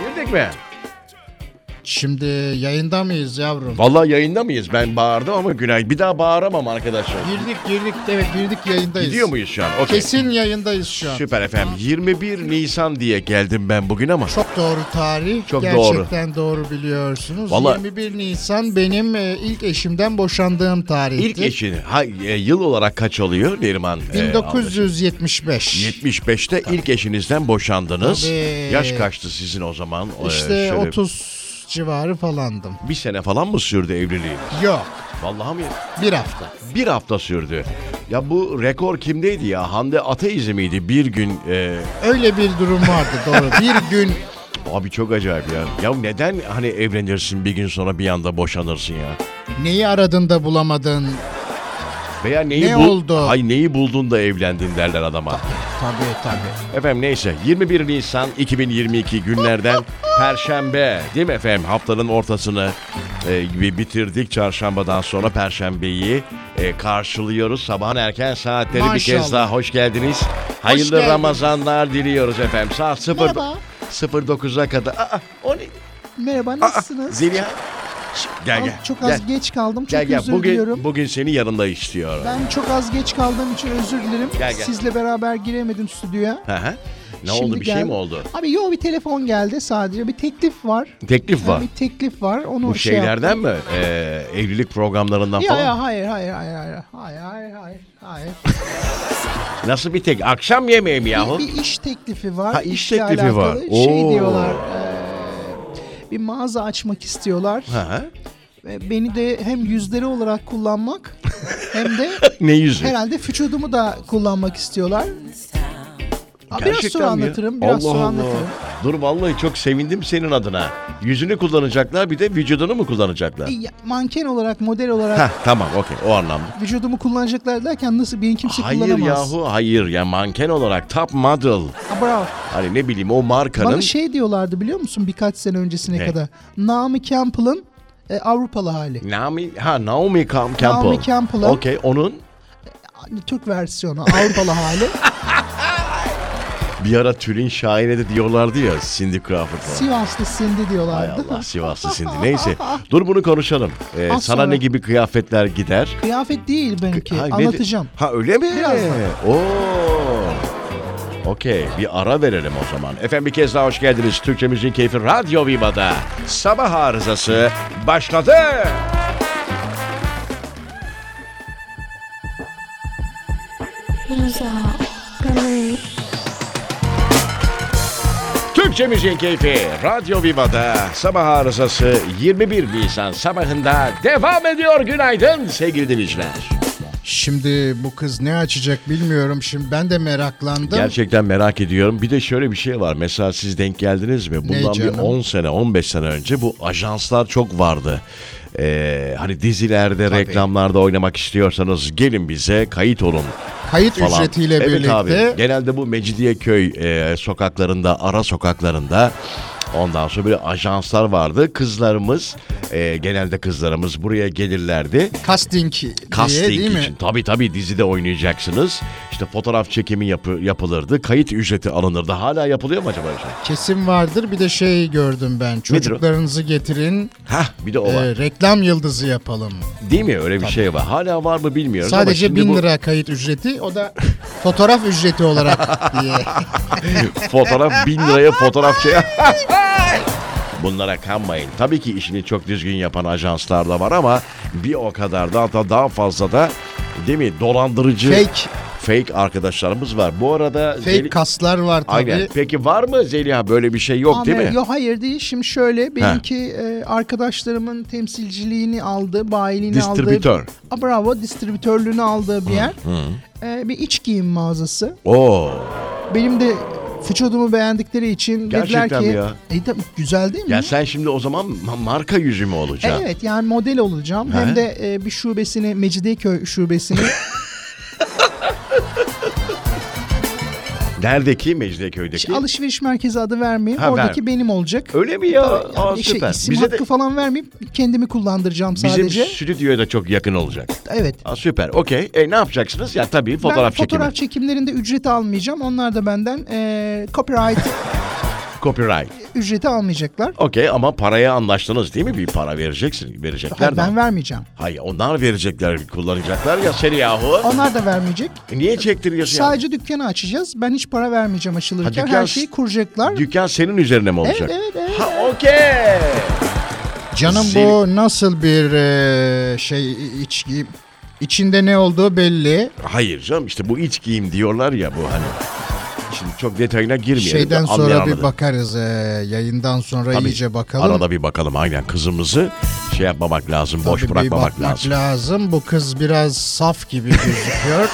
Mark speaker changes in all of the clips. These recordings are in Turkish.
Speaker 1: Gelecek mi?
Speaker 2: Şimdi yayında mıyız yavrum?
Speaker 1: Vallahi yayında mıyız? Ben bağırdım ama günah. Bir daha bağıramam arkadaşlar.
Speaker 2: Girdik girdik evet girdik yayındayız.
Speaker 1: Gidiyor muyuz şu an? Okey.
Speaker 2: Kesin yayındayız şu an.
Speaker 1: Süper efendim. 21 Nisan diye geldim ben bugün ama.
Speaker 2: Çok doğru tarih.
Speaker 1: Çok doğru.
Speaker 2: Gerçekten doğru, biliyorsunuz.
Speaker 1: Vallahi-
Speaker 2: 21 Nisan benim e, ilk eşimden boşandığım tarihti.
Speaker 1: İlk eşini ha, e, yıl olarak kaç oluyor Neriman? e, ablacığım?
Speaker 2: 1975.
Speaker 1: 75'te ilk eşinizden boşandınız.
Speaker 2: Tabii.
Speaker 1: Yaş kaçtı sizin o zaman? E,
Speaker 2: işte
Speaker 1: şöyle
Speaker 2: 30 civarı falandım.
Speaker 1: Bir sene falan mı sürdü evliliği?
Speaker 2: Yok.
Speaker 1: Vallahi mi?
Speaker 2: Bir hafta.
Speaker 1: Bir hafta sürdü. Ya bu rekor kimdeydi ya? Hande Ateizi miydi? Bir gün... e,
Speaker 2: Öyle bir durum vardı doğru. bir gün
Speaker 1: Abi çok acayip ya. Ya neden hani evlenirsin bir gün sonra bir anda boşanırsın ya?
Speaker 2: neyi aradın da bulamadın?
Speaker 1: Veya neyi
Speaker 2: Ne oldu?
Speaker 1: Hay neyi buldun da evlendin derler adama.
Speaker 2: Tabii tabii.
Speaker 1: Efendim neyse 21 Nisan 2022 günlerden Perşembe değil mi efendim haftanın ortasını e, gibi bitirdik çarşambadan sonra Perşembeyi e, karşılıyoruz sabahın erken saatleri bir kez
Speaker 2: Maşallah.
Speaker 1: daha hoş geldiniz hayırlı
Speaker 2: geldiniz.
Speaker 1: Ramazanlar diliyoruz efendim saat 0
Speaker 2: Merhaba.
Speaker 1: 09'a kadar aa o ne
Speaker 3: Merhaba
Speaker 1: aa,
Speaker 3: nasılsınız?
Speaker 1: Zeliha gel
Speaker 3: Az-
Speaker 1: gel
Speaker 3: çok
Speaker 1: gel.
Speaker 3: az geç kaldım. Çok
Speaker 1: Gel gel
Speaker 3: özür
Speaker 1: bugün
Speaker 3: diliyorum.
Speaker 1: bugün seni yanında istiyorum.
Speaker 3: Ben çok az geç kaldığım için özür dilerim.
Speaker 1: Gel, gel.
Speaker 3: Sizle beraber giremedim stüdyoya.
Speaker 1: Hı hı. Ne
Speaker 3: Şimdi
Speaker 1: oldu bir şey
Speaker 3: gel-
Speaker 1: mi oldu?
Speaker 3: Abi yo bir telefon geldi sadece. Bir teklif var.
Speaker 1: Teklif var.
Speaker 3: Yani bir teklif var. Onu
Speaker 1: Bu
Speaker 3: şey yaptım.
Speaker 1: şeylerden mi? Ee, evlilik programlarından
Speaker 3: Ya
Speaker 1: falan.
Speaker 3: ya hayır hayır hayır hayır hayır hayır hayır hayır.
Speaker 1: Nasıl bir tek? Akşam yemeği mi yahu?
Speaker 3: Bir, bir iş teklifi var.
Speaker 1: Ha, iş
Speaker 3: İşle
Speaker 1: teklifi var.
Speaker 3: alakalı Şey
Speaker 1: Oo.
Speaker 3: diyorlar. eee, bir mağaza açmak istiyorlar.
Speaker 1: Hı hı.
Speaker 3: Ve Beni de hem yüzleri olarak kullanmak hem de
Speaker 1: Ne yüzü?
Speaker 3: herhalde vücudumu da kullanmak istiyorlar. Aa, biraz sonra
Speaker 1: Gerçekten mi ya?
Speaker 3: anlatırım. Biraz
Speaker 1: Allah
Speaker 3: sonra
Speaker 1: Allah.
Speaker 3: anlatırım.
Speaker 1: Dur vallahi çok sevindim senin adına. Yüzünü kullanacaklar bir de vücudunu mu kullanacaklar?
Speaker 3: E, ya- Manken olarak, model olarak
Speaker 1: Heh, tamam okey o anlamda.
Speaker 3: vücudumu kullanacaklar derken nasıl beni kimse
Speaker 1: Hayır
Speaker 3: kullanamaz.
Speaker 1: yahu hayır ya manken olarak top model.
Speaker 3: Aa, bravo.
Speaker 1: Hani ne bileyim o markanın.
Speaker 3: Bana şey diyorlardı biliyor musun birkaç sene öncesine
Speaker 1: Ne?
Speaker 3: kadar. Naomi Campbell'ın e, Avrupalı hali.
Speaker 1: Naomi, ha Naomi Cam- Campbell.
Speaker 3: Naomi Campbell'ın-
Speaker 1: Okey onun
Speaker 3: Hani Türk versiyonu, Avrupalı hali.
Speaker 1: Bir ara Tülin Şahin'e de diyorlardı ya Cindy Crawford'a.
Speaker 3: Sivaslı Cindy
Speaker 1: Hay
Speaker 3: diyorlardı.
Speaker 1: Allah Sivaslı Cindy. Neyse dur bunu konuşalım. Ee, sana
Speaker 3: Az sonra.
Speaker 1: ne gibi kıyafetler gider?
Speaker 3: Kıyafet değil benimki.
Speaker 1: Hay, ne de-
Speaker 3: Anlatacağım.
Speaker 1: Ha öyle mi?
Speaker 3: Birazdan.
Speaker 1: Oo. Okey bir ara verelim o zaman. Efendim bir kez daha hoş geldiniz. Türkçe Müziğin Keyfi Radyo Viva'da. Sabah arızası başladı.
Speaker 4: Rıza Okan'ın
Speaker 1: Türkçe Müziğin Keyfi Radyo Viva'da sabah arızası 21 Nisan sabahında devam ediyor. Günaydın sevgili dinleyiciler.
Speaker 2: Şimdi bu kız ne açacak bilmiyorum. Şimdi ben de meraklandım.
Speaker 1: Gerçekten merak ediyorum. Bir de şöyle bir şey var. Mesela siz denk geldiniz mi? Bundan bir
Speaker 2: canım?
Speaker 1: 10 sene, 15 sene önce bu ajanslar çok vardı. Ee, hani dizilerde, reklamlarda oynamak istiyorsanız gelin bize kayıt olun
Speaker 2: Kayıt
Speaker 1: falan.
Speaker 2: ücretiyle
Speaker 1: evet
Speaker 2: birlikte
Speaker 1: abi. Genelde bu Mecidiyeköy e, sokaklarında, ara sokaklarında ondan sonra böyle ajanslar vardı. Kızlarımız, e, genelde kızlarımız buraya gelirlerdi.
Speaker 2: casting diye
Speaker 1: Casting
Speaker 2: değil mi?
Speaker 1: için. Tabii tabii dizide oynayacaksınız. İşte fotoğraf çekimi yapı- yapılırdı. Kayıt ücreti alınırdı. Hala yapılıyor mu acaba?
Speaker 2: Kesim vardır. Bir de şey gördüm ben.
Speaker 1: o?
Speaker 2: Çocuklarınızı getirin.
Speaker 1: Ha bir de o var.
Speaker 2: e, reklam yıldızı yapalım.
Speaker 1: Değil mi? Öyle bir şey var. Hala var mı bilmiyorum ama
Speaker 2: Sadece
Speaker 1: şimdi
Speaker 2: 1000
Speaker 1: bu
Speaker 2: lira kayıt ücreti. O da fotoğraf ücreti olarak diye.
Speaker 1: fotoğraf bin liraya fotoğraf şey. Bunlara kanmayın. Tabii ki işini çok düzgün yapan ajanslar da var ama bir o kadar da hatta daha fazla da değil mi? Dolandırıcı
Speaker 2: Fake
Speaker 1: fake arkadaşlarımız var. Bu arada
Speaker 2: fake kaslar var tabii. E,
Speaker 1: Aynen. Peki var mı Zeliha böyle bir şey yok değil mi?
Speaker 3: Yok hayır değil. Şimdi şöyle benimki e, arkadaşlarımın temsilciliğini aldı, bayiliğini
Speaker 1: Distribütör.
Speaker 3: aldı. Aa, bravo distribütörlüğünü aldığı bir yer. E, bir iç giyim mağazası.
Speaker 1: Oo.
Speaker 3: Benim de vücudumu beğendikleri için
Speaker 1: Gerçekten
Speaker 3: dediler ki
Speaker 1: mi ya?
Speaker 3: "E, tabii, güzel değil mi?
Speaker 1: Ya sen şimdi o zaman ma- marka yüzü mü olacaksın?
Speaker 3: Evet yani model olacağım.
Speaker 1: He.
Speaker 3: Hem de e, bir şubesini Mecidiyeköy şubesini
Speaker 1: Neredeki Mecidiyeköy'deki?
Speaker 3: Ş- alışveriş merkezi adı vermeyeyim.
Speaker 1: Ha,
Speaker 3: Oradaki
Speaker 1: ver.
Speaker 3: benim olacak.
Speaker 1: Öyle mi ya?
Speaker 3: Yani
Speaker 1: Aa,
Speaker 3: şey,
Speaker 1: süper.
Speaker 3: isim
Speaker 1: Bize de-
Speaker 3: hakkı falan vermeyip kendimi kullandıracağım
Speaker 1: Bizim
Speaker 3: sadece.
Speaker 1: stüdyoya da çok yakın olacak.
Speaker 3: Evet.
Speaker 1: Aa, süper. Okey. E ne yapacaksınız? Ya tabii fotoğraf
Speaker 3: ben
Speaker 1: çekimi.
Speaker 3: fotoğraf çekimlerinde ücret almayacağım. Onlar da benden eee e, copyright
Speaker 1: Copyright.
Speaker 3: Ücreti almayacaklar.
Speaker 1: Okey ama paraya anlaştınız değil mi? Bir para vereceksin. Verecekler
Speaker 3: Hayır,
Speaker 1: de.
Speaker 3: ben vermeyeceğim.
Speaker 1: Hayır onlar verecekler, kullanacaklar ya seni yahu.
Speaker 3: Onlar da vermeyecek.
Speaker 1: Niye çektiriyorsun ya?
Speaker 3: Sadece dükkanı açacağız. Ben hiç para vermeyeceğim aşılırken.
Speaker 1: Ha, dükkan-
Speaker 3: Her şeyi kuracaklar.
Speaker 1: Dükkan senin üzerine mi olacak?
Speaker 3: evet, evet,
Speaker 1: Ha okey.
Speaker 2: Canım bu nasıl bir e, şey içki? İçinde ne olduğu belli.
Speaker 1: Hayır canım işte bu iç giyim diyorlar ya bu hani. Şimdi çok detayına girmeyelim. de
Speaker 2: Şeyden
Speaker 1: anlayan
Speaker 2: sonra bir
Speaker 1: anladı.
Speaker 2: bakarız. e, yayından sonra
Speaker 1: Tabii,
Speaker 2: iyice bakalım.
Speaker 1: Arada bir bakalım aynen kızımızı şey yapmamak lazım, boş
Speaker 2: Tabii bir
Speaker 1: bırakmamak
Speaker 2: bakmak
Speaker 1: lazım.
Speaker 2: lazım. Bu kız biraz saf gibi gözüküyor.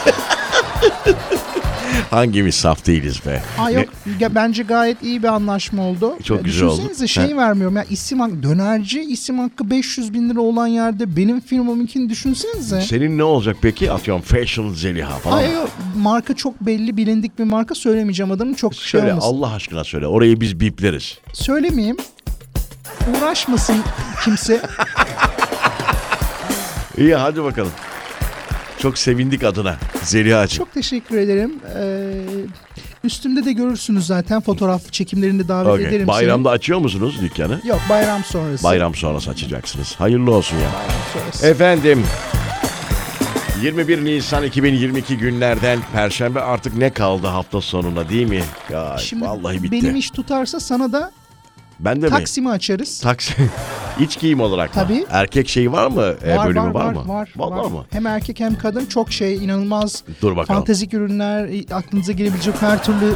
Speaker 1: Hangimiz saf değiliz be.
Speaker 3: Aa, yok ya bence gayet iyi bir anlaşma oldu.
Speaker 1: Çok
Speaker 3: Ya
Speaker 1: güzel oldu.
Speaker 3: Düşünsenize şey vermiyorum ya isim hakkı dönerci isim hakkı 500 bin lira olan yerde benim firmamınkini düşünsenize.
Speaker 1: Ne- Senin ne olacak peki? Atıyorum Fashion Zeliha falan.
Speaker 3: Ay yok marka çok belli bilindik bir marka söylemeyeceğim adamın çok şey
Speaker 1: Söyle
Speaker 3: olmasın.
Speaker 1: Allah aşkına söyle. Orayı biz bipleriz.
Speaker 3: Söylemeyeyim. Uğraşmasın kimse.
Speaker 1: İyi hadi bakalım. Çok sevindik adına. Zeliha'cığım.
Speaker 3: Çok teşekkür ederim. Ee, üstümde de görürsünüz zaten fotoğraf çekimlerini davet
Speaker 1: Okey.
Speaker 3: ederim.
Speaker 1: Bayramda açıyor musunuz dükkanı?
Speaker 3: seni. Yok bayram sonrası.
Speaker 1: Bayram sonrası açacaksınız. Hayırlı olsun ya.
Speaker 3: sonrası.
Speaker 1: Efendim 21 Nisan 2022 günlerden Perşembe artık ne kaldı hafta sonuna değil mi? Ya,
Speaker 3: Şimdi
Speaker 1: vallahi bitti.
Speaker 3: benim iş tutarsa sana da
Speaker 1: ben de mi?
Speaker 3: Taksim'i açarız.
Speaker 1: Taksi. İç giyim olarak mı?
Speaker 3: Tabii.
Speaker 1: Erkek şeyi var mı? E,
Speaker 3: var,
Speaker 1: bölümü
Speaker 3: var, var,
Speaker 1: mı?
Speaker 3: Var,
Speaker 1: Vallahi
Speaker 3: var.
Speaker 1: mı?
Speaker 3: Hem erkek hem kadın çok şey inanılmaz
Speaker 1: Dur bakalım.
Speaker 3: fantezik ürünler e, aklınıza gelebilecek her türlü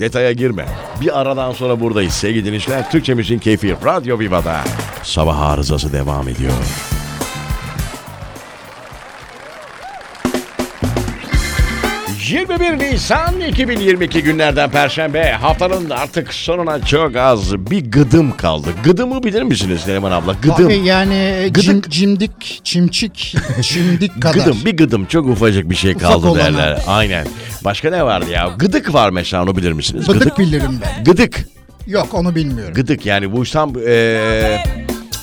Speaker 1: Detaya girme. Bir aradan sonra buradayız sevgili dinleyiciler. Türkçe Müziğin Keyfi Radyo Viva'da. Sabah arızası devam ediyor. ...21 Nisan 2022 günlerden Perşembe... ...haftanın artık sonuna çok az bir gıdım kaldı. Gıdımı bilir misiniz Neriman abla? Gıdım.
Speaker 2: Abi
Speaker 3: e,
Speaker 2: yani
Speaker 1: Gıdık.
Speaker 2: cim- cimdik, çimçik, çimdik kadar.
Speaker 1: Gıdım bir gıdım çok ufacık bir şey kaldı
Speaker 2: olana.
Speaker 1: derler. Aynen. Başka ne vardı ya? Gıdık var mesela onu bilir misiniz?
Speaker 2: Bıdık bilirim ben.
Speaker 1: Gıdık.
Speaker 2: Yok onu bilmiyorum.
Speaker 1: Gıdık yani bu tam eee,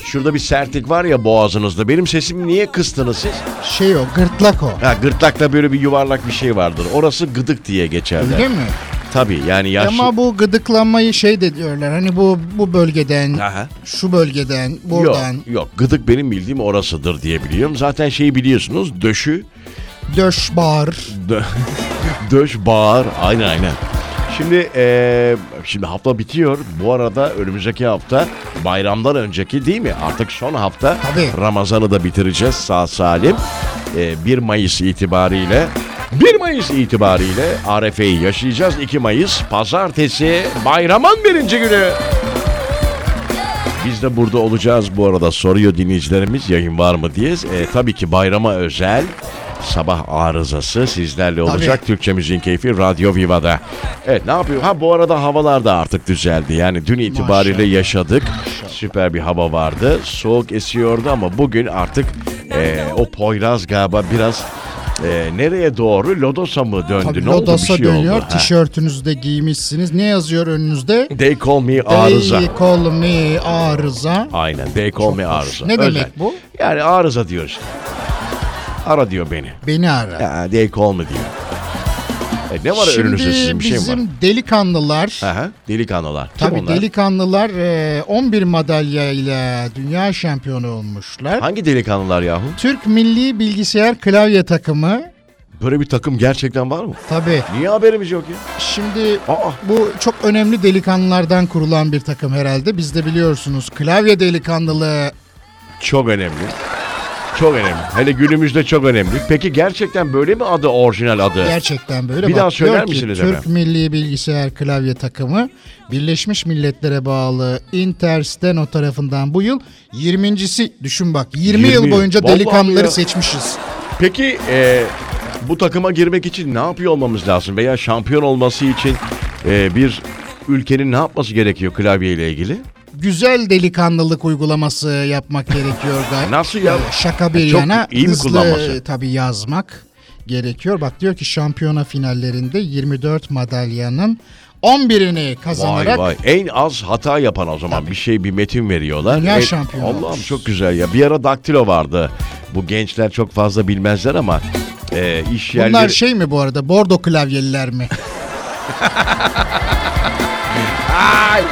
Speaker 1: şurada bir sertlik var ya boğazınızda. Benim sesim niye kıstınız siz?
Speaker 2: Şey o gırtlak o.
Speaker 1: Ha gırtlakta böyle bir yuvarlak bir şey vardır. Orası gıdık diye geçerler.
Speaker 2: Değil mi?
Speaker 1: Tabii yani yaşlı.
Speaker 2: Ama bu gıdıklanmayı şey de diyorlar. Hani bu bu bölgeden,
Speaker 1: Aha.
Speaker 2: şu bölgeden,
Speaker 1: Yok,
Speaker 2: buradan.
Speaker 1: yok gıdık benim bildiğim orasıdır diye biliyorum. Zaten şeyi biliyorsunuz döşü.
Speaker 2: Döş bağır.
Speaker 1: Dö- Döş bağır. Aynen aynen. Şimdi eee, şimdi hafta bitiyor. Bu arada önümüzdeki hafta bayramdan önceki değil mi? Artık son hafta
Speaker 2: Tabii.
Speaker 1: Ramazan'ı da bitireceğiz sağ salim. Eee, 1 Mayıs itibariyle 1 Mayıs itibariyle Arefe'yi yaşayacağız. 2 Mayıs pazartesi bayramın birinci günü. Biz de burada olacağız bu arada soruyor dinleyicilerimiz yayın var mı diye. E, tabii ki bayrama özel sabah arızası sizlerle olacak. Türkçe Müziğin Keyfi Radyo Viva'da. Evet ne yapıyor? Ha bu arada havalar da artık düzeldi. Yani dün itibariyle
Speaker 2: Maşallah.
Speaker 1: yaşadık. Süper bir hava vardı. Soğuk esiyordu ama bugün artık e, o Poyraz galiba biraz e, nereye doğru? Lodos'a mı döndü?
Speaker 2: Tabii
Speaker 1: ne oldu? Bir
Speaker 2: lodasa
Speaker 1: şey
Speaker 2: dönüyor.
Speaker 1: oldu. Ha.
Speaker 2: Tişörtünüzü de giymişsiniz. Ne yazıyor önünüzde?
Speaker 1: They call me arıza.
Speaker 2: They call me arıza.
Speaker 1: Aynen. They call me arıza.
Speaker 2: Ne
Speaker 1: Özel.
Speaker 2: demek bu?
Speaker 1: Yani arıza diyor işte. Ara diyor beni.
Speaker 2: Beni ara.
Speaker 1: Ya, they call me diyor. E, ne var önünüzde sizin bir şey mi
Speaker 2: bizim
Speaker 1: var?
Speaker 2: delikanlılar
Speaker 1: Aha, delikanlılar. Kim
Speaker 2: Tabii
Speaker 1: onlar?
Speaker 2: delikanlılar e, 11 madalya ile dünya şampiyonu olmuşlar.
Speaker 1: Hangi delikanlılar yahu?
Speaker 2: Türk Milli Bilgisayar Klavye Takımı
Speaker 1: Böyle bir takım gerçekten var mı?
Speaker 2: tabii
Speaker 1: Niye haberimiz yok ya?
Speaker 2: şimdi
Speaker 1: Aa.
Speaker 2: bu çok önemli delikanlılardan kurulan bir takım herhalde. Biz de biliyorsunuz klavye delikanlılığı
Speaker 1: Çok önemli. Çok önemli. Hele günümüzde çok önemli. Peki gerçekten böyle mi adı orijinal adı?
Speaker 2: gerçekten böyle.
Speaker 1: Bir
Speaker 2: Bak,
Speaker 1: daha söyler
Speaker 2: diyor ki,
Speaker 1: misiniz
Speaker 2: Türk
Speaker 1: efendim?
Speaker 2: Milli Bilgisayar Klavye Takımı Birleşmiş Milletler'e bağlı Intersteno tarafından bu yıl 20.si düşün bak 20, yıl
Speaker 1: 20.
Speaker 2: boyunca
Speaker 1: Vallahi
Speaker 2: delikanlıları
Speaker 1: ya.
Speaker 2: seçmişiz.
Speaker 1: Peki e, bu takıma girmek için ne yapıyor olmamız lazım? Veya şampiyon olması için e, bir ülkenin ne yapması gerekiyor klavyeyle ilgili?
Speaker 2: güzel delikanlılık uygulaması yapmak gerekiyor da.
Speaker 1: Nasıl ya?
Speaker 2: Ee, Şaka bir
Speaker 1: Çok
Speaker 2: yana
Speaker 1: iyi mi
Speaker 2: hızlı e,
Speaker 1: kullanması?
Speaker 2: tabii yazmak gerekiyor. Bak diyor ki şampiyona finallerinde 24 madalyanın 11'ini kazanarak
Speaker 1: Vay vay. En az hata yapan o zaman bir şey bir metin veriyorlar.
Speaker 2: Dünya
Speaker 1: En-
Speaker 2: şampiyonu
Speaker 1: Allah'ım
Speaker 2: olmuş.
Speaker 1: çok güzel ya. Bir ara daktilo vardı. Bu gençler çok fazla bilmezler ama e, iş yerleri...
Speaker 2: Bunlar şey mi bu arada? Bordo klavyeliler mi?
Speaker 1: Vay!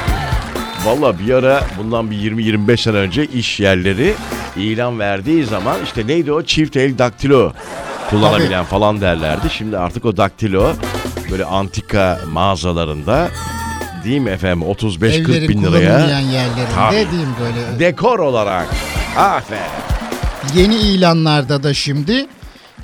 Speaker 1: Valla bir ara bundan bir 20-25 sene önce iş yerleri ilan verdiği zaman işte neydi o çift el daktilo kullanabilen falan derlerdi. Şimdi artık o daktilo böyle antika mağazalarında değil mi efendim 35-40
Speaker 2: Evlerin
Speaker 1: bin liraya
Speaker 2: kullanılmayan yerlerinde
Speaker 1: Tabii.
Speaker 2: diyeyim böyle.
Speaker 1: dekor olarak aferin.
Speaker 2: Yeni ilanlarda da şimdi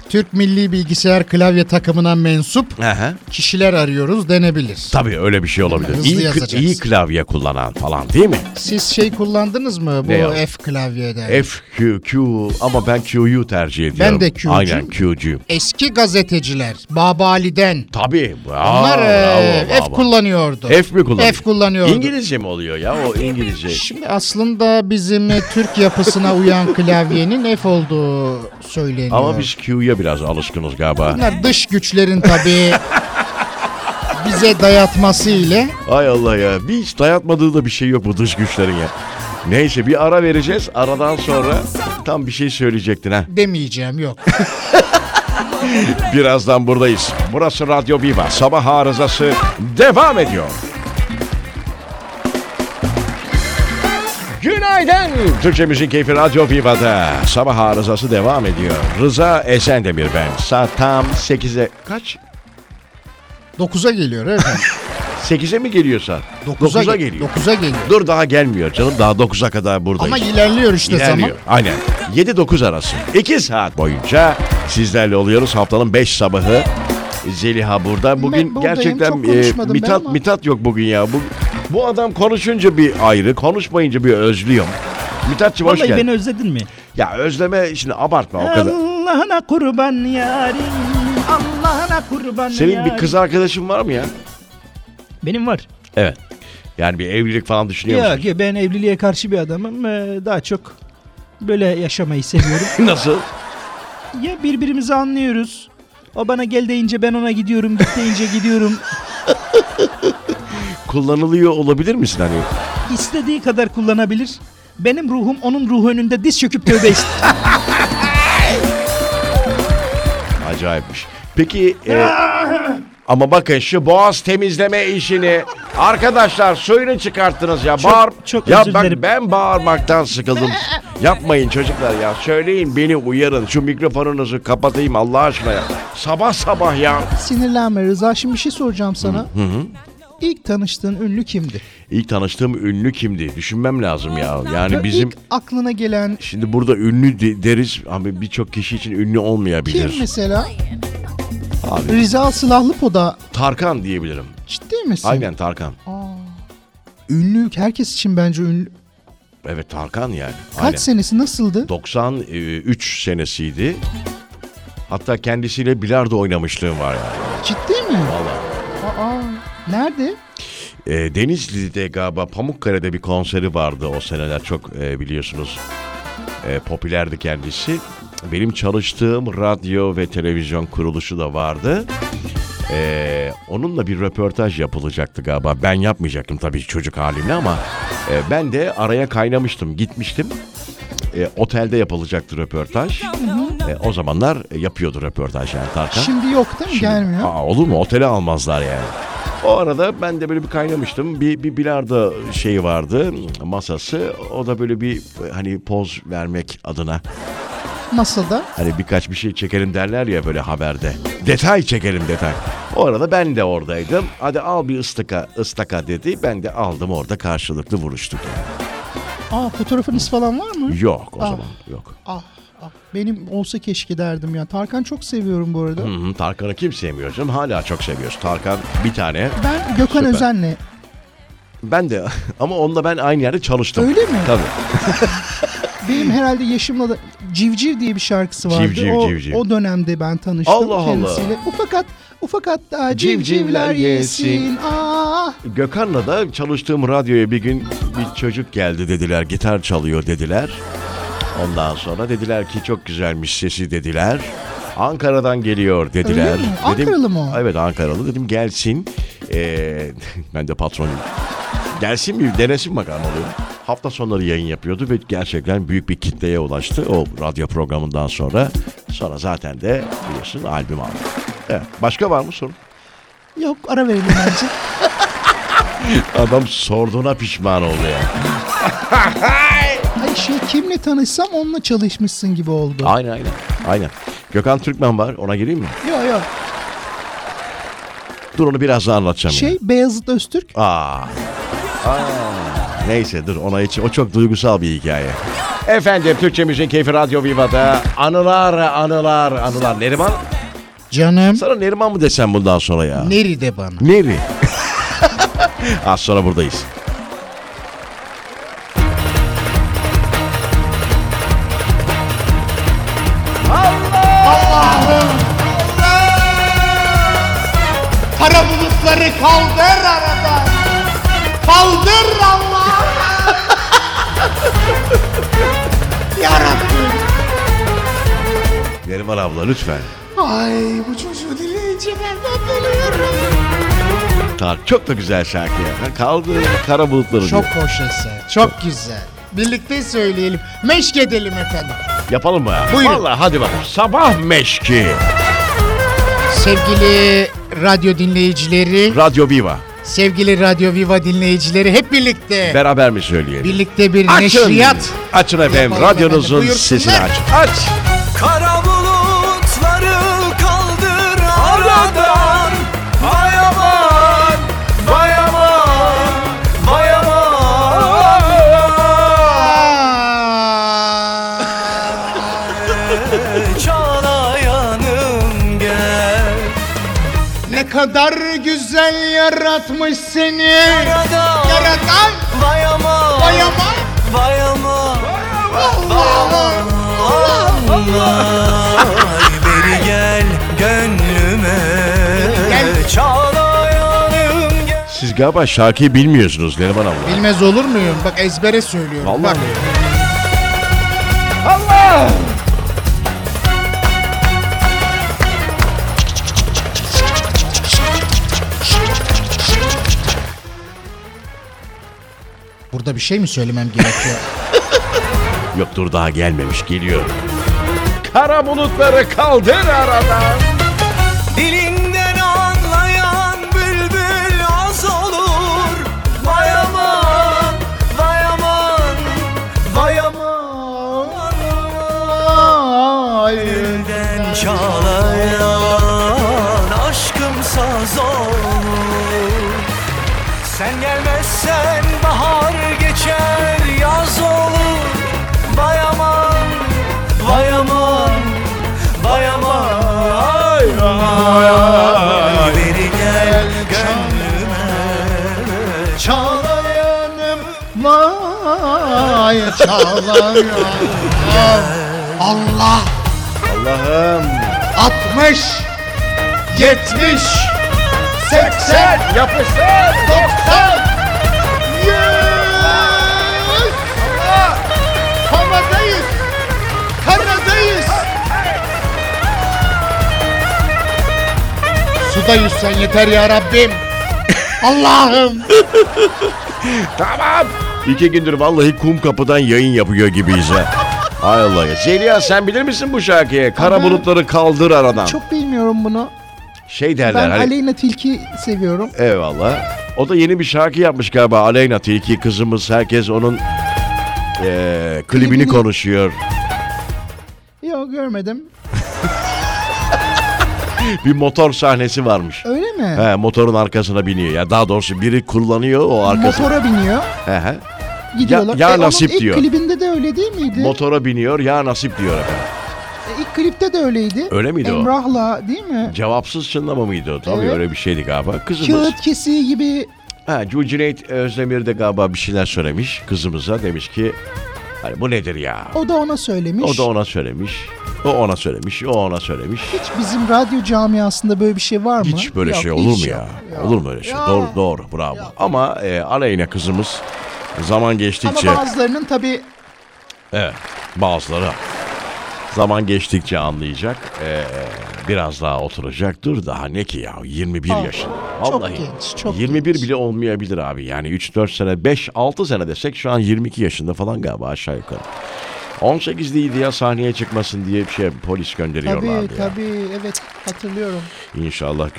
Speaker 2: Türk Milli Bilgisayar Klavye takımına mensup
Speaker 1: Aha.
Speaker 2: kişiler arıyoruz denebilir.
Speaker 1: Tabii öyle bir şey olabilir.
Speaker 2: Hızlı
Speaker 1: İyi, kı-
Speaker 2: yazacaksın.
Speaker 1: iyi klavye kullanan falan değil mi?
Speaker 2: Siz şey kullandınız mı bu
Speaker 1: Ne ya?
Speaker 2: F klavyeden?
Speaker 1: F, Q, Q ama ben Q'yu tercih ediyorum.
Speaker 2: de Q'cuyum.
Speaker 1: Aynen Q'cuyum.
Speaker 2: Eski gazeteciler Babali'den
Speaker 1: Tabii. Bravo,
Speaker 2: onlar e,
Speaker 1: bravo,
Speaker 2: F
Speaker 1: bravo.
Speaker 2: kullanıyordu.
Speaker 1: F mi kullanıyor?
Speaker 2: F kullanıyordu.
Speaker 1: İngilizce mi oluyor ya o İngilizce?
Speaker 2: Şimdi aslında bizim e, Türk yapısına uyan klavyenin F olduğu söyleniyor.
Speaker 1: Ama şey- biz Q'ya biraz alışkınız galiba.
Speaker 2: Bunlar dış güçlerin tabii bize dayatması ile
Speaker 1: Ay Allah ya. Bir hiç dayatmadığı da bir şey yok bu dış güçlerin ya. Neyse bir ara vereceğiz. Aradan sonra tam bir şey söyleyecektin ha.
Speaker 2: demeyeceğim yok.
Speaker 1: Birazdan buradayız. Burası Radyo Viva. Sabah arızası devam ediyor. Günaydın. Türkçemizin keyfi Radyo Viva'da. Sabah arızası devam ediyor. Rıza Esendemir ben. Saat tam 8'e... Kaç?
Speaker 2: 9'a geliyor efendim.
Speaker 1: 8'e mi geliyor saat?
Speaker 2: 9'a
Speaker 1: 9'a
Speaker 2: ge-
Speaker 1: geliyor.
Speaker 2: 9'a geliyor.
Speaker 1: Dur daha gelmiyor canım. Daha 9'a kadar buradayız.
Speaker 2: Ama ilerliyor işte
Speaker 1: İlerliyor.
Speaker 2: zaman.
Speaker 1: Aynen. 7-9 arası. 2 saat boyunca sizlerle oluyoruz. Haftanın 5 sabahı. Zeliha burada. Bugün
Speaker 3: buradayım,
Speaker 1: gerçekten e,
Speaker 3: çok konuşmadım ben
Speaker 1: mitat
Speaker 3: ama.
Speaker 1: mitat yok bugün ya. Bu, bu adam konuşunca bir ayrı, konuşmayınca bir özlüyorum. Mithatçım hoş
Speaker 4: Vallahi
Speaker 1: geldin.
Speaker 4: beni özledin mi?
Speaker 1: Ya özleme şimdi abartma o kadar.
Speaker 4: Allah'ına kurban yarim. Allah'ına kurban
Speaker 1: Senin bir
Speaker 4: yarim.
Speaker 1: kız arkadaşın var mı ya?
Speaker 4: Benim var.
Speaker 1: Evet. Yani bir evlilik falan düşünüyor musun?
Speaker 4: Yok ya ben evliliğe karşı bir adamım. Ee, Daha çok böyle yaşamayı seviyorum.
Speaker 1: Nasıl?
Speaker 4: ya birbirimizi anlıyoruz. O bana gel deyince ben ona gidiyorum. Git deyince gidiyorum.
Speaker 1: Kullanılıyor olabilir misin hani?
Speaker 4: İstediği kadar kullanabilir. Benim ruhum onun ruhu önünde diz çöküp tövbe ister.
Speaker 1: Acayipmiş. Peki e, ama bakın şu boğaz temizleme işini arkadaşlar suyunu çıkarttınız ya.
Speaker 4: Çok-
Speaker 1: Bağır,
Speaker 4: çok
Speaker 1: ya
Speaker 4: özür
Speaker 1: bak
Speaker 4: dilerim.
Speaker 1: ben bağırmaktan sıkıldım. Yapmayın çocuklar ya. Söyleyin beni uyarın. Şu mikrofonunuzu kapatayım Allah aşkına ya. Sabah sabah ya.
Speaker 3: Sinirlenme Rıza. Şimdi bir şey soracağım sana. İlk tanıştığın ünlü kimdi?
Speaker 1: İlk tanıştığım ünlü kimdi? Düşünmem lazım ya. Yani
Speaker 3: Böyle
Speaker 1: bizim
Speaker 3: ilk aklına gelen
Speaker 1: şimdi burada ünlü de- deriz ama birçok kişi için ünlü olmayabilir.
Speaker 3: kim mesela?
Speaker 1: Abi.
Speaker 3: Rıza Silahlıpo'da
Speaker 1: Tarkan diyebilirim.
Speaker 3: ciddi misin?
Speaker 1: Aynen Tarkan.
Speaker 3: Ünlü herkes için bence ünlü.
Speaker 1: Evet Tarkan yani.
Speaker 3: Kaç
Speaker 1: Aynen.
Speaker 3: senesi nasıldı?
Speaker 1: 93 e, senesiydi. Hatta kendisiyle bilardo oynamışlığım var yani.
Speaker 3: Ciddi mi?
Speaker 1: Vallahi.
Speaker 3: Aa, nerede?
Speaker 1: E, Denizli'de galiba Pamukkale'de bir konseri vardı o seneler çok e, biliyorsunuz e, popülerdi kendisi. Benim çalıştığım radyo ve televizyon kuruluşu da vardı. E, onunla bir röportaj yapılacaktı galiba. Ben yapmayacaktım tabii çocuk halimle ama e, ben de araya kaynamıştım, gitmiştim. E, otelde yapılacaktı röportaj. E, o zamanlar e, yapıyordu röportaj yani Tarkan.
Speaker 3: Şimdi yok değil mi?
Speaker 1: Şimdi-
Speaker 3: Gelmiyor.
Speaker 1: Aa, olur mu? Otele almazlar yani. O arada ben de böyle bir kaynamıştım. Bir, bir bilardo şeyi vardı masası. O da böyle bir hani poz vermek adına.
Speaker 3: Masada.
Speaker 1: Hani birkaç bir şey çekelim derler ya böyle haberde. Detay çekelim detay. O arada ben de oradaydım. Hadi al bir ıstaka, ıstaka dedi. Ben de aldım orada karşılıklı vuruştuk. yani.
Speaker 3: Aa fotoğrafınız falan var mı?
Speaker 1: Yok o
Speaker 3: Ah.
Speaker 1: zaman yok.
Speaker 3: Ah, ah, benim olsa keşke derdim ya. Tarkan çok seviyorum bu arada.
Speaker 1: Hı hı, Tarkan'ı kim sevmiyor canım? Hala çok seviyoruz. Tarkan bir tane.
Speaker 3: Ben Gökhan
Speaker 1: Süper.
Speaker 3: Özen'le
Speaker 1: Ben de ama onunla ben aynı yerde çalıştım.
Speaker 3: Öyle mi?
Speaker 1: Tabii.
Speaker 3: benim herhalde yaşımla da Civciv diye bir şarkısı vardı.
Speaker 1: Civciv,
Speaker 3: o,
Speaker 1: civciv.
Speaker 3: o dönemde ben tanıştım
Speaker 1: Allah Allah.
Speaker 3: kendisiyle. Ufakat ufakat da
Speaker 1: Civcivler
Speaker 3: civcivler yesin.
Speaker 1: yesin.
Speaker 3: Ah.
Speaker 1: Gökhan'la da çalıştığım radyoya bir gün bir çocuk geldi dediler. Gitar çalıyor dediler. Ondan sonra dediler ki çok güzelmiş sesi dediler. Ankara'dan geliyor dediler.
Speaker 3: Öyle mi? Ankaralı mı o?
Speaker 1: Evet Ankaralı. Dedim gelsin. Ee, ben de patronum. Gelsin mi denesin bakalım oluyor. Hafta sonları yayın yapıyordu ve gerçekten büyük bir kitleye ulaştı. O radyo programından sonra. Sonra zaten de biliyorsun albüm aldı. Evet. Başka var mı sorun?
Speaker 3: Yok ara verelim bence.
Speaker 1: Adam sorduğuna pişman oldu ya.
Speaker 3: Ay şey kimle tanışsam onunla çalışmışsın gibi oldu.
Speaker 1: Aynen aynen. Aynen. Gökhan Türkmen var ona gireyim mi?
Speaker 3: Yok yok.
Speaker 1: Dur onu biraz daha anlatacağım. ya.
Speaker 3: Şey Beyazıt Öztürk.
Speaker 1: Aa. Aa. Neyse dur ona için. O çok duygusal bir hikaye. Efendim Türkçemizin Keyfi Radyo Viva'da anılar anılar anılar. Neriman?
Speaker 2: Canım
Speaker 1: Sana Neriman mı desem bundan sonra ya?
Speaker 2: nerede bana?
Speaker 1: Neri? Az sonra buradayız.
Speaker 5: Kara bulutları kaldır aradan. Kaldır Allah. Yarabbim.
Speaker 1: Neriman abla lütfen.
Speaker 5: Ay bu çocuğu dileyince nereden geliyorum?
Speaker 1: Ta- Çok da güzel şarkı ya. Kaldı kara bulutları
Speaker 2: Çok
Speaker 1: diyor.
Speaker 2: hoş eser. Çok güzel. Birlikte söyleyelim. Meşk edelim efendim.
Speaker 1: Yapalım mı? ya?
Speaker 2: Buyurun.
Speaker 1: Vallahi hadi bakalım. Sabah meşki.
Speaker 2: Sevgili radyo dinleyicileri,
Speaker 1: Radyo Viva.
Speaker 2: sevgili Radyo Viva dinleyicileri hep birlikte.
Speaker 1: Beraber mi söyleyelim?
Speaker 2: birlikte bir
Speaker 1: Açın.
Speaker 2: neşriyat.
Speaker 1: Açın efendim.
Speaker 2: Yapalım efendim.
Speaker 1: Radyonuzun
Speaker 2: Buyursunlar.
Speaker 1: sesini açın. Aç.
Speaker 6: Kara bulutları kaldır aradan Vay aman, vay aman, vay aman Çala yanım gel
Speaker 2: Ne kadar güzel yaratmış seni.
Speaker 6: Aradan,
Speaker 5: Yaradan
Speaker 6: vay aman, vay aman,
Speaker 5: bayama
Speaker 6: vay aman
Speaker 5: Allah.
Speaker 6: Ay beri gel gönlüme Çala yanım gel
Speaker 1: Siz galiba şarkıyı bilmiyorsunuz Neriman abla.
Speaker 2: Bilmez olur muyum? Bak ezbere söylüyorum.
Speaker 1: Vallahi.
Speaker 2: Bak. Burada bir şey mi söylemem gerekiyor?
Speaker 1: Yok dur daha gelmemiş geliyor. Kara bulutları kaldır aradan.
Speaker 6: Dilinden anlayan bülbül az olur Vay aman, vay aman, vay aman Elden çalayan aşkımsa olur Sen gelmezsen bahar geçer yaz olur Vay aman, vay aman, vay aman Beri gel gönlüme
Speaker 2: Çağlayanım vay çağlayan. Allah
Speaker 1: Allah'ım.
Speaker 2: 60 70 80
Speaker 1: Yapıştır.
Speaker 2: 90 100 Havadayız Karadayız Suda yüzsen yeter ya Rabbim Allah'ım
Speaker 1: Tamam. İki gündür vallahi kum kapıdan yayın yapıyor gibiyiz ha. Ay Allah ya. Zeliha sen bilir misin bu şarkıyı? Kara
Speaker 3: Ama-
Speaker 1: bulutları kaldır aradan.
Speaker 3: Çok bilmiyorum bunu.
Speaker 1: Şey derler
Speaker 3: Ben
Speaker 1: hani.
Speaker 3: Aleyna Tilki seviyorum.
Speaker 1: Eyvallah. O da yeni bir şarkı yapmış galiba. Aleyna Tilki kızımız herkes onun eee klibini
Speaker 3: Klibini-
Speaker 1: konuşuyor.
Speaker 3: Yok görmedim.
Speaker 1: Bir motor sahnesi varmış.
Speaker 3: Öyle mi?
Speaker 1: He, motorun arkasına biniyor. Ya daha doğrusu biri kullanıyor o arkasına.
Speaker 3: Motora biniyor.
Speaker 1: He he.
Speaker 3: Gidiyorlar. E,
Speaker 1: ya
Speaker 3: onun
Speaker 1: nasip
Speaker 3: ilk
Speaker 1: diyor.
Speaker 3: klibinde de öyle değil miydi?
Speaker 1: Motora biniyor ya nasip diyor efendim.
Speaker 3: E, ilk klipte de öyleydi.
Speaker 1: Öyle miydi o?
Speaker 3: Emrah'la değil mi?
Speaker 1: "Hani şey
Speaker 3: şey
Speaker 1: e, şey- e,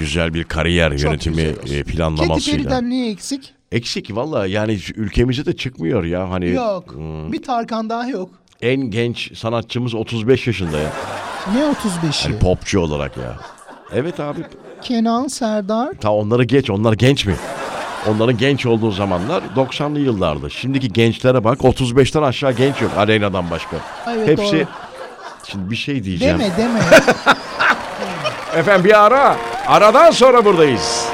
Speaker 1: şey, e, Eksik valla yani şu ülkemize de çıkmıyor ya hani
Speaker 3: Yok. Bir Tarkan daha yok.
Speaker 1: en genç sanatçımız 35 yaşında ya.
Speaker 3: Ne 35'i?
Speaker 1: Hani popçu olarak ya. Evet abi
Speaker 3: Kenan Serdar.
Speaker 1: ta onları geç onlar genç mi? Onların genç olduğu zamanlar 90'lı yıllardı. Şimdiki gençlere bak 35'ten aşağı genç yok Aleyna'dan başka.
Speaker 3: Evet,
Speaker 1: Hepsi
Speaker 3: doğru.
Speaker 1: Şimdi bir şey diyeceğim.
Speaker 3: Deme deme.
Speaker 1: Efendim bir ara. Aradan sonra buradayız.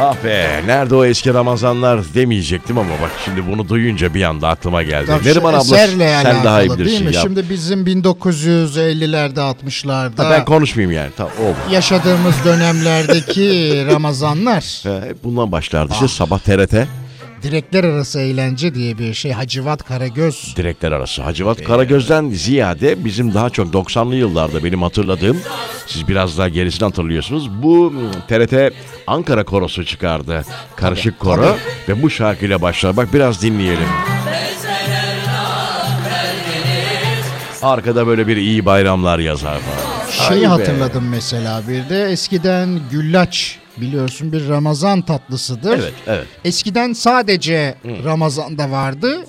Speaker 1: Ah be nerede o eski Ramazanlar demeyecektim ama bak şimdi bunu duyunca bir anda aklıma geldi.
Speaker 2: Tabii şu
Speaker 1: Neriman abla
Speaker 2: eserle
Speaker 1: sen daha iyi
Speaker 2: alakalı,
Speaker 1: bilirsin
Speaker 2: değil mi?
Speaker 1: ya.
Speaker 2: Şimdi bizim 1950'lerde 60'larda
Speaker 1: Ha, ben konuşmayayım yani. Tamam oldu.
Speaker 2: yaşadığımız dönemlerdeki Ramazanlar
Speaker 1: Ee, hep bundan başlardı
Speaker 2: Ah.
Speaker 1: işte sabah TRT
Speaker 2: direkler arası eğlence diye bir şey Hacivat Karagöz
Speaker 1: direkler arası. Hacivat Karagöz'den ziyade bizim daha çok 90'lı yıllarda benim hatırladığım siz biraz daha gerisini hatırlıyorsunuz. Bu mm, TRT Ankara korosu çıkardı. Karışık koro ve bu şarkıyla başlar. Bak biraz dinleyelim. Arkada böyle bir iyi bayramlar yazar falan. Ay
Speaker 2: şeyi
Speaker 1: be.
Speaker 2: hatırladım mesela bir de eskiden güllaç biliyorsun bir Ramazan tatlısıdır.
Speaker 1: Evet, evet.
Speaker 2: Eskiden sadece Ramazan'da vardı.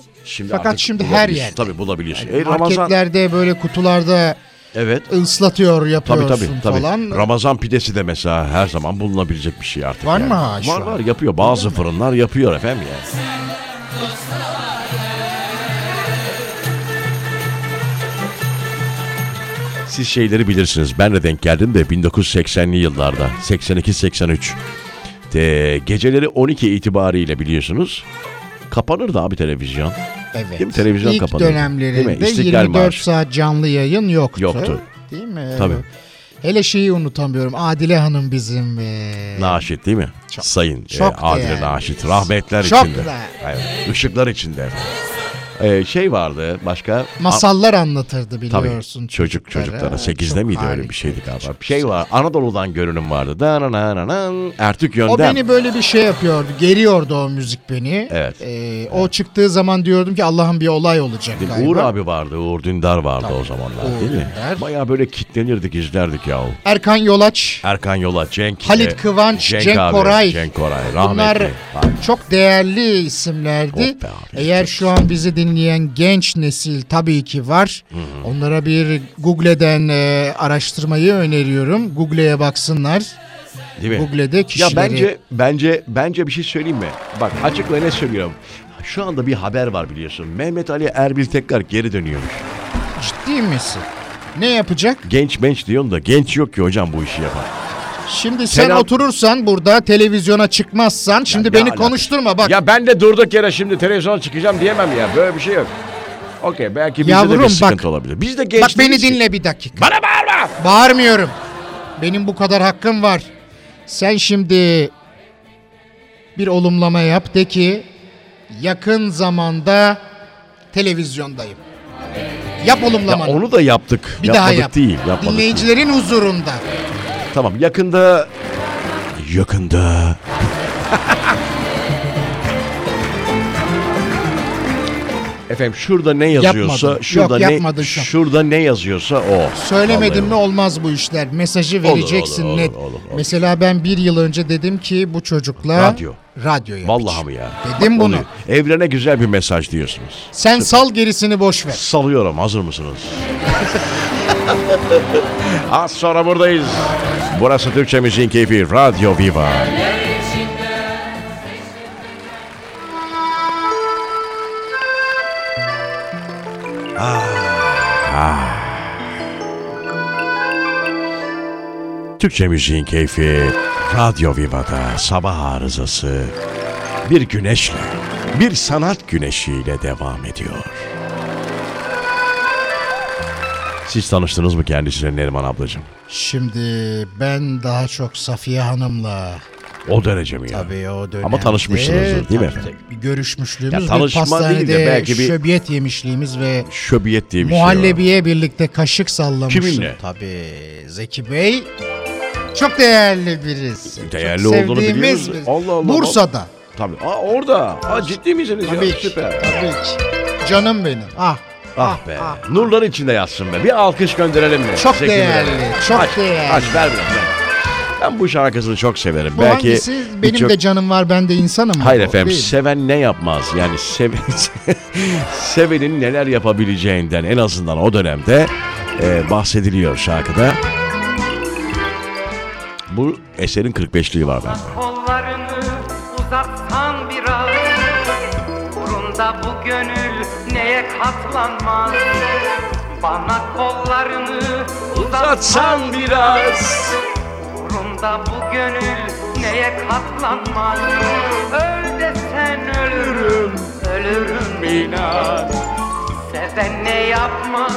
Speaker 2: Fakat
Speaker 1: artık
Speaker 2: şimdi her
Speaker 1: bulabiliyorsun.
Speaker 2: yer.
Speaker 1: Tabii bulabiliyorsun. Ey Ramazan.
Speaker 2: Marketlerde böyle kutularda
Speaker 1: Evet.
Speaker 2: ıslatıyor
Speaker 1: Tabii
Speaker 2: yapıyorsun
Speaker 1: tabii tabii.
Speaker 2: falan.
Speaker 1: Ramazan pidesi de mesela her zaman bulunabilecek bir şey artık.
Speaker 2: Var
Speaker 1: yani.
Speaker 2: mı ha şu
Speaker 1: Var
Speaker 2: an?
Speaker 1: var yapıyor. Bazı fırınlar yapıyor efendim yani. Siz şeyleri bilirsiniz. Ben de denk geldim de 1980'li yıllarda. 82-83. De, geceleri 12 itibariyle biliyorsunuz. Kapanırdı abi televizyon.
Speaker 2: evet.
Speaker 1: Değil mi? Televizyon
Speaker 2: İlk
Speaker 1: kapanıyordu. Değil mi?
Speaker 2: dönemlerinde
Speaker 1: İstiklal
Speaker 2: 24
Speaker 1: Marşı.
Speaker 2: saat canlı yayın yoktu.
Speaker 1: Yoktu.
Speaker 2: Değil mi? Evet.
Speaker 1: Tabii.
Speaker 2: Hele şeyi unutamıyorum. Adile Hanım bizim. ee,
Speaker 1: Naşit değil mi? Sayın e,
Speaker 2: Şok da
Speaker 1: Adile
Speaker 2: yani.
Speaker 1: Naşit. Rahmetler
Speaker 2: Şok
Speaker 1: içinde.
Speaker 2: da.
Speaker 1: Evet, ışıklar içinde. Ee, şey vardı başka.
Speaker 2: masallar anlatırdı
Speaker 1: A- tabii,
Speaker 2: biliyorsun.
Speaker 1: çocuk çocuklara. Sekizde
Speaker 2: Çok
Speaker 1: miydi öyle
Speaker 2: harika,
Speaker 1: bir şeydi galiba.
Speaker 2: çok
Speaker 1: Bir şey var Anadolu'dan görünüm vardı. Dananananan, Ertük
Speaker 2: O
Speaker 1: Yönden.
Speaker 2: beni böyle bir şey yapıyordu. Geriyordu o müzik beni.
Speaker 1: Evet.
Speaker 2: Ee, o çıktığı zaman diyordum ki Allah'ım bir olay olacak
Speaker 1: Değil mi?
Speaker 2: galiba.
Speaker 1: Uğur abi vardı. Uğur Dündar vardı o zamanlar
Speaker 2: Uğur
Speaker 1: değil mi?
Speaker 2: Dündar.
Speaker 1: Baya böyle kitlenirdik izlerdik ya.
Speaker 2: Erkan Yolaç.
Speaker 1: Erkan Yola, Cenk.
Speaker 2: Halit
Speaker 1: e,
Speaker 2: Kıvanç, Cenk
Speaker 1: abi,
Speaker 2: Koray.
Speaker 1: Cenk Koray.
Speaker 2: Bunlar
Speaker 1: Rahmetli. Abi,
Speaker 2: çok değerli isimlerdi.
Speaker 1: Oh be abi.
Speaker 2: Eğer şu an bizi dinleyen genç nesil tabii ki var. Onlara bir Google'den e, araştırmayı öneriyorum. Google'ye baksınlar.
Speaker 1: Değil mi?
Speaker 2: Google'de
Speaker 1: Ya
Speaker 2: kişileri.
Speaker 1: bence bence bence bir şey söyleyeyim mi? Bak açık ve net söylüyorum. Şu anda bir haber var biliyorsun. Mehmet Ali Erbil tekrar geri dönüyormuş.
Speaker 2: Ciddi misin? Ne yapacak?
Speaker 1: Genç menç diyorsun da genç yok ki hocam bu işi yapan.
Speaker 2: Şimdi sen
Speaker 1: Selam-
Speaker 2: oturursan burada televizyona çıkmazsan şimdi
Speaker 1: ne
Speaker 2: beni
Speaker 1: alaka?
Speaker 2: konuşturma bak.
Speaker 1: Ya ben de durduk yere şimdi televizyona çıkacağım diyemem ya. Böyle bir şey yok. Okey belki bizde de
Speaker 2: Yavrum
Speaker 1: bir
Speaker 2: bak.
Speaker 1: sıkıntı olabilir. Biz de genç
Speaker 2: bak beni
Speaker 1: değiliz ki.
Speaker 2: dinle bir dakika.
Speaker 1: Bana bağırma.
Speaker 2: Bağırmıyorum. Benim bu kadar hakkım var. Sen şimdi bir olumlama yap de ki yakın zamanda televizyondayım. Yap
Speaker 1: Ya
Speaker 2: olumlamanı.
Speaker 1: onu da yaptık.
Speaker 2: bir
Speaker 1: yapmadık
Speaker 2: daha yap.
Speaker 1: değil. Yapmadık değil.
Speaker 2: Dinleyicilerin huzurunda.
Speaker 1: Tamam yakında... Yakında... Efendim şurada ne yazıyorsa
Speaker 2: Yapmadım.
Speaker 1: şurada
Speaker 2: Yok,
Speaker 1: ne
Speaker 2: yapmadım şu an.
Speaker 1: şurada ne yazıyorsa o.
Speaker 2: Söylemedin
Speaker 1: Vallahi
Speaker 2: mi olmaz bu işler. Mesajı
Speaker 1: olur,
Speaker 2: vereceksin
Speaker 1: olur,
Speaker 2: net.
Speaker 1: olur, olur.
Speaker 2: Mesela ben bir yıl önce dedim ki bu çocukla
Speaker 1: Radyo.
Speaker 2: radyo yapacağım.
Speaker 1: Vallahi mi ya?
Speaker 2: Dedim
Speaker 1: Bak,
Speaker 2: bunu.
Speaker 1: oluyor. Evrene güzel bir mesaj diyorsunuz.
Speaker 2: Sen sal gerisini boş ver.
Speaker 1: Salıyorum. Hazır mısınız? Az sonra buradayız. Burası Türkçe Müziğin Keyfi Radyo Viva. Ah, Türkçe Müziğin Keyfi Radyo Viva'da sabah arızası bir güneşle, bir sanat güneşiyle devam ediyor. Siz tanıştınız mı kendisine Neriman ablacığım?
Speaker 2: Şimdi ben daha çok Safiye Hanım'la
Speaker 1: O derece mi ya?
Speaker 2: tabii o dönemde...
Speaker 1: Ama tanışmışsınızdır, değil mi
Speaker 2: Tabii,
Speaker 1: efendim?
Speaker 2: tabii. Bir görüşmüşlüğümüz
Speaker 1: Ya
Speaker 2: ve
Speaker 1: tanışma
Speaker 2: pastanede
Speaker 1: değil de belki bir-
Speaker 2: şöbiyet yemişliğimiz ve
Speaker 1: Şöbiyet diye bir şey var.
Speaker 2: muhallebiye birlikte kaşık sallamışlık.
Speaker 1: Kiminle?
Speaker 2: Tabii Zeki Bey çok değerli birisi.
Speaker 1: Değerli
Speaker 2: çok
Speaker 1: olduğunu
Speaker 2: sevdiğimiz
Speaker 1: biliyoruz.
Speaker 2: birisi.
Speaker 1: Allah Allah.
Speaker 2: Bursa'da.
Speaker 1: Tabii. Aa orada. Aa ciddi misiniz
Speaker 2: Tabii
Speaker 1: ya?
Speaker 2: ki.
Speaker 1: Süper.
Speaker 2: Tabii ki. Canım benim. Ah.
Speaker 1: Ah be. Nurlar içinde yatsın be. Bir alkış gönderelim mi?
Speaker 2: Çok
Speaker 1: Zeki Müren'e.
Speaker 2: değerli, çok
Speaker 1: aç,
Speaker 2: değerli.
Speaker 1: Aç ver biraz. ver. Ben bu şarkısını çok severim.
Speaker 2: Bu
Speaker 1: Belki
Speaker 2: hangisi? Benim
Speaker 1: birçok-
Speaker 2: de canım var ben de insanım.
Speaker 1: Hayır
Speaker 2: Bu
Speaker 1: efendim
Speaker 2: değil.
Speaker 1: seven ne yapmaz yani seven, sevenin neler yapabileceğinden en azından o dönemde e, bahsediliyor şarkıda. Bu eserin 45'liği var bende.
Speaker 7: Kollarını uzatsan biraz Uğrunda bu gönül neye katlanmaz Bana kollarını uzatsan
Speaker 1: biraz
Speaker 7: Uğrunda bu gönül neye katlanmaz Öl desen ölürüm, ölürüm inan Seven ne yapmaz,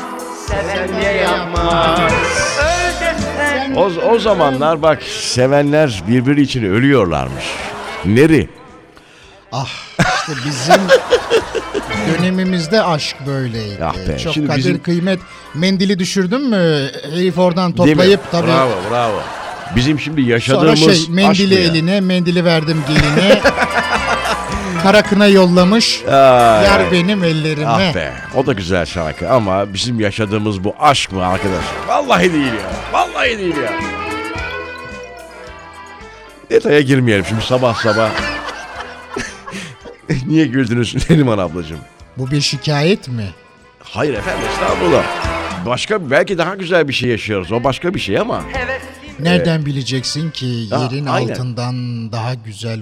Speaker 7: seven ne yapmaz Öl desen
Speaker 1: O, o zamanlar bak sevenler birbiri için ölüyorlarmış. Neri?
Speaker 2: İşte bizim dönemimizde aşk böyleydi.
Speaker 1: Ah be,
Speaker 2: Çok
Speaker 1: şimdi
Speaker 2: kadir
Speaker 1: bizim-
Speaker 2: kıymet. Mendili düşürdün mü? Herif oradan
Speaker 1: Değil mi?
Speaker 2: toplayıp tabii.
Speaker 1: Bravo bravo. Bizim şimdi
Speaker 2: Sonra
Speaker 1: yaşadığımız
Speaker 2: şey
Speaker 1: aşk
Speaker 2: mendili
Speaker 1: mı ya?
Speaker 2: eline, mendili verdim geline. Kara kına yollamış.
Speaker 1: Ay,
Speaker 2: Yer benim ellerime.
Speaker 1: Ah be. O da güzel şarkı ama bizim yaşadığımız bu aşk mı arkadaş? Vallahi değil ya. Vallahi değil ya. Detaya girmeyelim şimdi sabah sabah. Niye güldünüz Neriman ablacığım?
Speaker 2: Bu bir şikayet mi?
Speaker 1: Hayır efendim estağfurullah. Başka belki daha güzel bir şey yaşıyoruz. O başka bir şey ama.
Speaker 2: Nereden bileceksin ki
Speaker 1: Ha,
Speaker 2: yerin
Speaker 1: Ah, aynen.
Speaker 2: altından daha güzel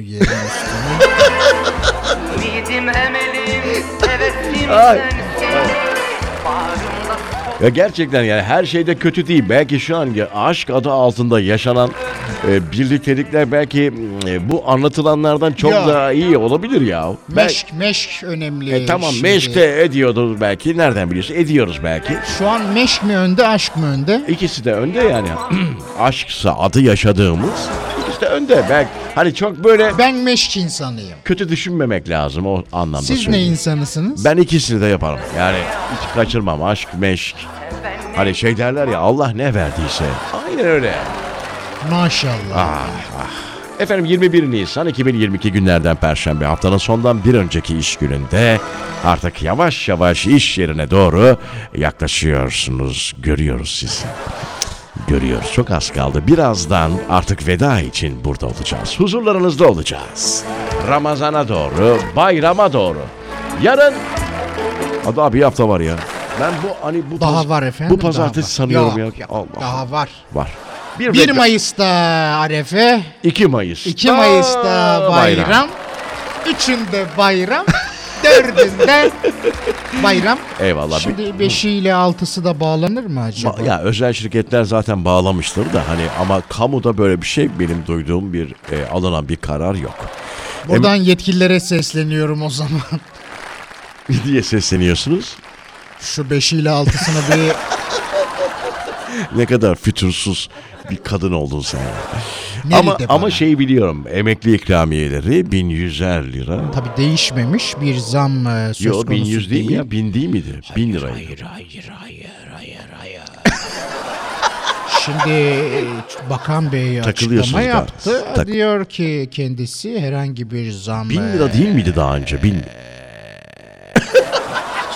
Speaker 2: yerin üstünün?
Speaker 7: Ümidim emelim, hevesim
Speaker 1: Ay.
Speaker 7: sensin Bağrımda
Speaker 1: Ya gerçekten yani her şeyde kötü değil. Belki şu an ya aşk adı altında yaşanan e, birliktelikler belki e, bu anlatılanlardan çok
Speaker 2: Ya.
Speaker 1: daha iyi olabilir ya. Bel-
Speaker 2: meşk, meşk önemli.
Speaker 1: E, tamam
Speaker 2: şimdi.
Speaker 1: meşk de ediyoruz belki. Nereden biliyorsun? Ediyoruz belki.
Speaker 2: Şu an meşk mi önde, aşk mı önde?
Speaker 1: İkisi de önde yani. Aşksa adı yaşadığımız ikisi de önde. Belki hani çok böyle
Speaker 2: Ben meşk insanıyım.
Speaker 1: kötü düşünmemek lazım o anlamda
Speaker 2: Siz ne
Speaker 1: söylüyorum.
Speaker 2: insanısınız?
Speaker 1: Ben ikisini de yaparım. Yani hiç kaçırmam. Aşk, meşk. Hani şey derler ya Allah ne verdiyse. Aynen öyle.
Speaker 2: Maşallah.
Speaker 1: Ah, Efendim 21 Nisan 2022 günlerden Perşembe haftanın sondan bir önceki iş gününde artık yavaş yavaş iş yerine doğru yaklaşıyorsunuz. Görüyoruz sizi. Görüyoruz. Çok az kaldı. Birazdan artık veda için burada olacağız. Huzurlarınızda olacağız. Ramazana doğru, bayrama doğru. Yarın... Aa, Daha bir hafta var ya. Ben bu hani bu
Speaker 2: Daha
Speaker 1: paz-
Speaker 2: var efendim.
Speaker 1: Bu pazartesi
Speaker 2: daha var.
Speaker 1: sanıyorum
Speaker 2: Yok,
Speaker 1: ya.
Speaker 2: yok,
Speaker 1: Allah.
Speaker 2: Daha var.
Speaker 1: Var.
Speaker 2: 1 Mayıs'ta Arefe,
Speaker 1: 2 Mayıs.
Speaker 2: 2 Mayıs'ta bayram, 3'ünde bayram, 4'ünde bayram.
Speaker 1: Eyvallah.
Speaker 2: Şimdi 5'i ile 6'sı da bağlanır mı acaba?
Speaker 1: Ba- Ya özel şirketler zaten bağlamıştır da hani ama kamuda böyle bir şey benim duyduğum bir e, alınan bir karar yok.
Speaker 2: Buradan yetkililere sesleniyorum o zaman.
Speaker 1: diye sesleniyorsunuz.
Speaker 2: Şu 5 ile 6'sını bir
Speaker 1: Ne kadar fütursuz bir kadın oldun sen. ya.
Speaker 2: nerede
Speaker 1: Ama ama
Speaker 2: bana?
Speaker 1: şey biliyorum. Emekli ikramiyeleri 1100'er lira.
Speaker 2: Tabii değişmemiş bir zam e, söz
Speaker 1: Yo
Speaker 2: konusu
Speaker 1: 1100 değil mi ya? 1000 değil miydi? 1000 lira.
Speaker 2: Şimdi e, bakan bey açıklama
Speaker 1: Takılıyorsunuz da.
Speaker 2: yaptı.
Speaker 1: Tak-
Speaker 2: Diyor ki kendisi herhangi bir zam
Speaker 1: 1000
Speaker 2: e,
Speaker 1: lira değil miydi daha önce? 1000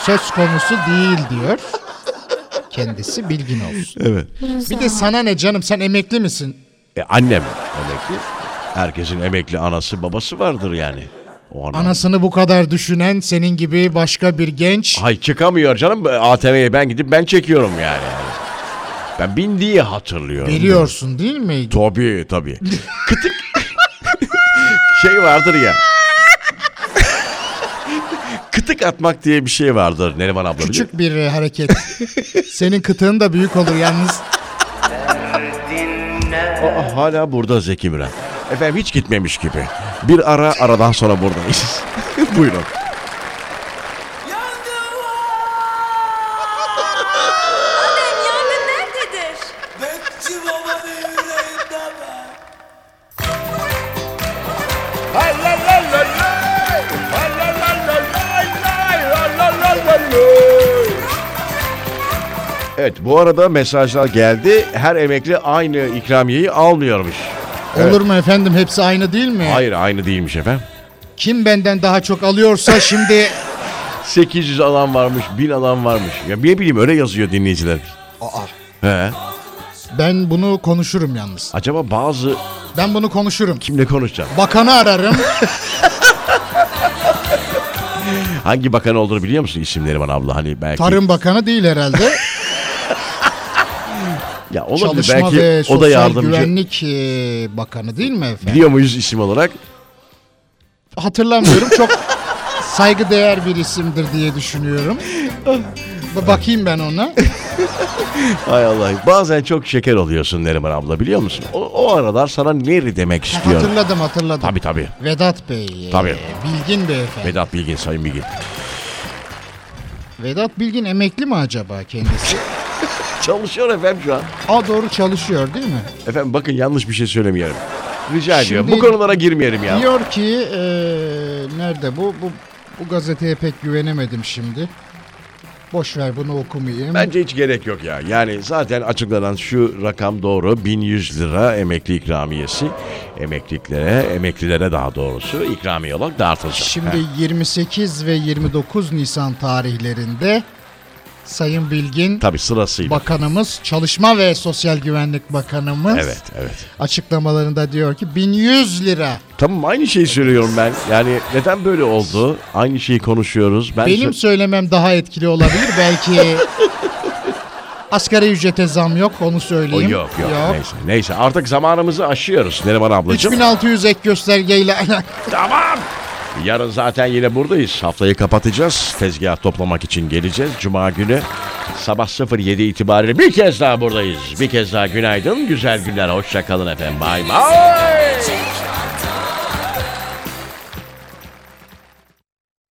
Speaker 2: söz konusu değil diyor. Kendisi bilgin olsun.
Speaker 1: Evet.
Speaker 2: Bir de sana ne canım sen emekli misin?
Speaker 1: E, annem emekli. Herkesin emekli anası babası vardır yani. O anlamda.
Speaker 2: Anasını bu kadar düşünen senin gibi başka bir genç
Speaker 1: Hay çıkamıyor canım ATV'ye ben gidip ben çekiyorum yani. Ben bindiği hatırlıyorum.
Speaker 2: biliyorsun değil mi?
Speaker 1: Tabii tabii. Kıtık şey vardır ya. Kıtık atmak diye bir şey vardır Neriman abla. biliyor
Speaker 2: Küçük bir e, hareket. Senin kıtığın da büyük olur yalnız.
Speaker 1: Aa, hala burada Zeki Müren. Efendim hiç gitmemiş gibi. Bir ara aradan sonra buradayız. Buyurun.
Speaker 5: Adem yangın nerededir?
Speaker 6: Bekçi baba yüreğimde ben.
Speaker 1: Evet bu arada mesajlar geldi. Her emekli aynı ikramiyeyi almıyormuş.
Speaker 2: Olur mu efendim hepsi aynı değil mi?
Speaker 1: Hayır aynı değilmiş efendim.
Speaker 2: Kim benden daha çok alıyorsa şimdi
Speaker 1: 800 alan varmış, 1000 alan varmış. Ya ne bileyim öyle yazıyor dinleyiciler. Aa. He.
Speaker 2: Ben bunu konuşurum yalnız.
Speaker 1: Acaba bazı
Speaker 2: Ben bunu konuşurum.
Speaker 1: kimle konuşacağım?
Speaker 2: Bakanı ararım.
Speaker 1: Hangi bakan olduğunu biliyor musun isimleri bana abla? Hani belki
Speaker 2: Tarım Bakanı değil herhalde.
Speaker 1: ya olabilir
Speaker 2: Çalışma
Speaker 1: belki
Speaker 2: ve
Speaker 1: o da
Speaker 2: Sosyal
Speaker 1: yardımcı.
Speaker 2: Güvenlik e, Bakanı değil mi efendim?
Speaker 1: Biliyor muyuz isim olarak?
Speaker 2: Hatırlamıyorum. Çok saygıdeğer bir isimdir diye düşünüyorum. Ba- Bakayım ben ona.
Speaker 1: Hay Allah. Bazen çok şeker oluyorsun Neriman abla biliyor musun? O, o aralar sana Neri demek istiyorum.
Speaker 2: Hatırladım hatırladım.
Speaker 1: Tabii tabii.
Speaker 2: Vedat Bey. e,
Speaker 1: Tabii.
Speaker 2: Bilgin beyefendi.
Speaker 1: Vedat Bilgin, Sayın Bilgin.
Speaker 2: Vedat Bilgin emekli mi acaba kendisi?
Speaker 1: Çalışıyor efendim şu an.
Speaker 2: A doğru çalışıyor değil mi?
Speaker 1: Efendim bakın yanlış bir şey söylemeyelim. Rica ediyorum. Bu
Speaker 2: Şimdi-
Speaker 1: konulara girmeyelim ya.
Speaker 2: Diyor ki e, nerede bu? bu? Bu gazeteye pek güvenemedim şimdi. Boş ver bunu okumayayım.
Speaker 1: Bence hiç gerek yok ya. Yani zaten açıklanan şu rakam doğru. 1100 lira emekli ikramiyesi. Emekliliklere, emeklilere daha doğrusu ikramiye olarak dağıtılacak.
Speaker 2: Şimdi 28 ve 29 Nisan tarihlerinde Sayın Bilgin
Speaker 1: Tabii sırasıyla.
Speaker 2: Bakanımız, Çalışma ve Sosyal Güvenlik Bakanımız
Speaker 1: Evet, evet.
Speaker 2: açıklamalarında diyor ki 1100 lira.
Speaker 1: Tamam aynı şeyi söylüyorum ben. Yani neden böyle oldu? Aynı şeyi konuşuyoruz. Ben
Speaker 2: Benim
Speaker 1: sö-
Speaker 2: söylemem daha etkili olabilir belki. Asgari ücrete zam yok onu
Speaker 1: O
Speaker 2: söyleyeyim.
Speaker 1: yok, yok Neyse, neyse. Artık zamanımızı aşıyoruz Neriman ablacığım.
Speaker 2: 3600 ek göstergeyle alakalı.
Speaker 1: Tamam. Yarın zaten yine buradayız. Haftayı kapatacağız. Tezgah toplamak için geleceğiz. Cuma günü sabah 07 itibariyle bir kez daha buradayız. Bir kez daha günaydın. Güzel günler. Hoşça kalın efendim. Bay bay.
Speaker 5: Cem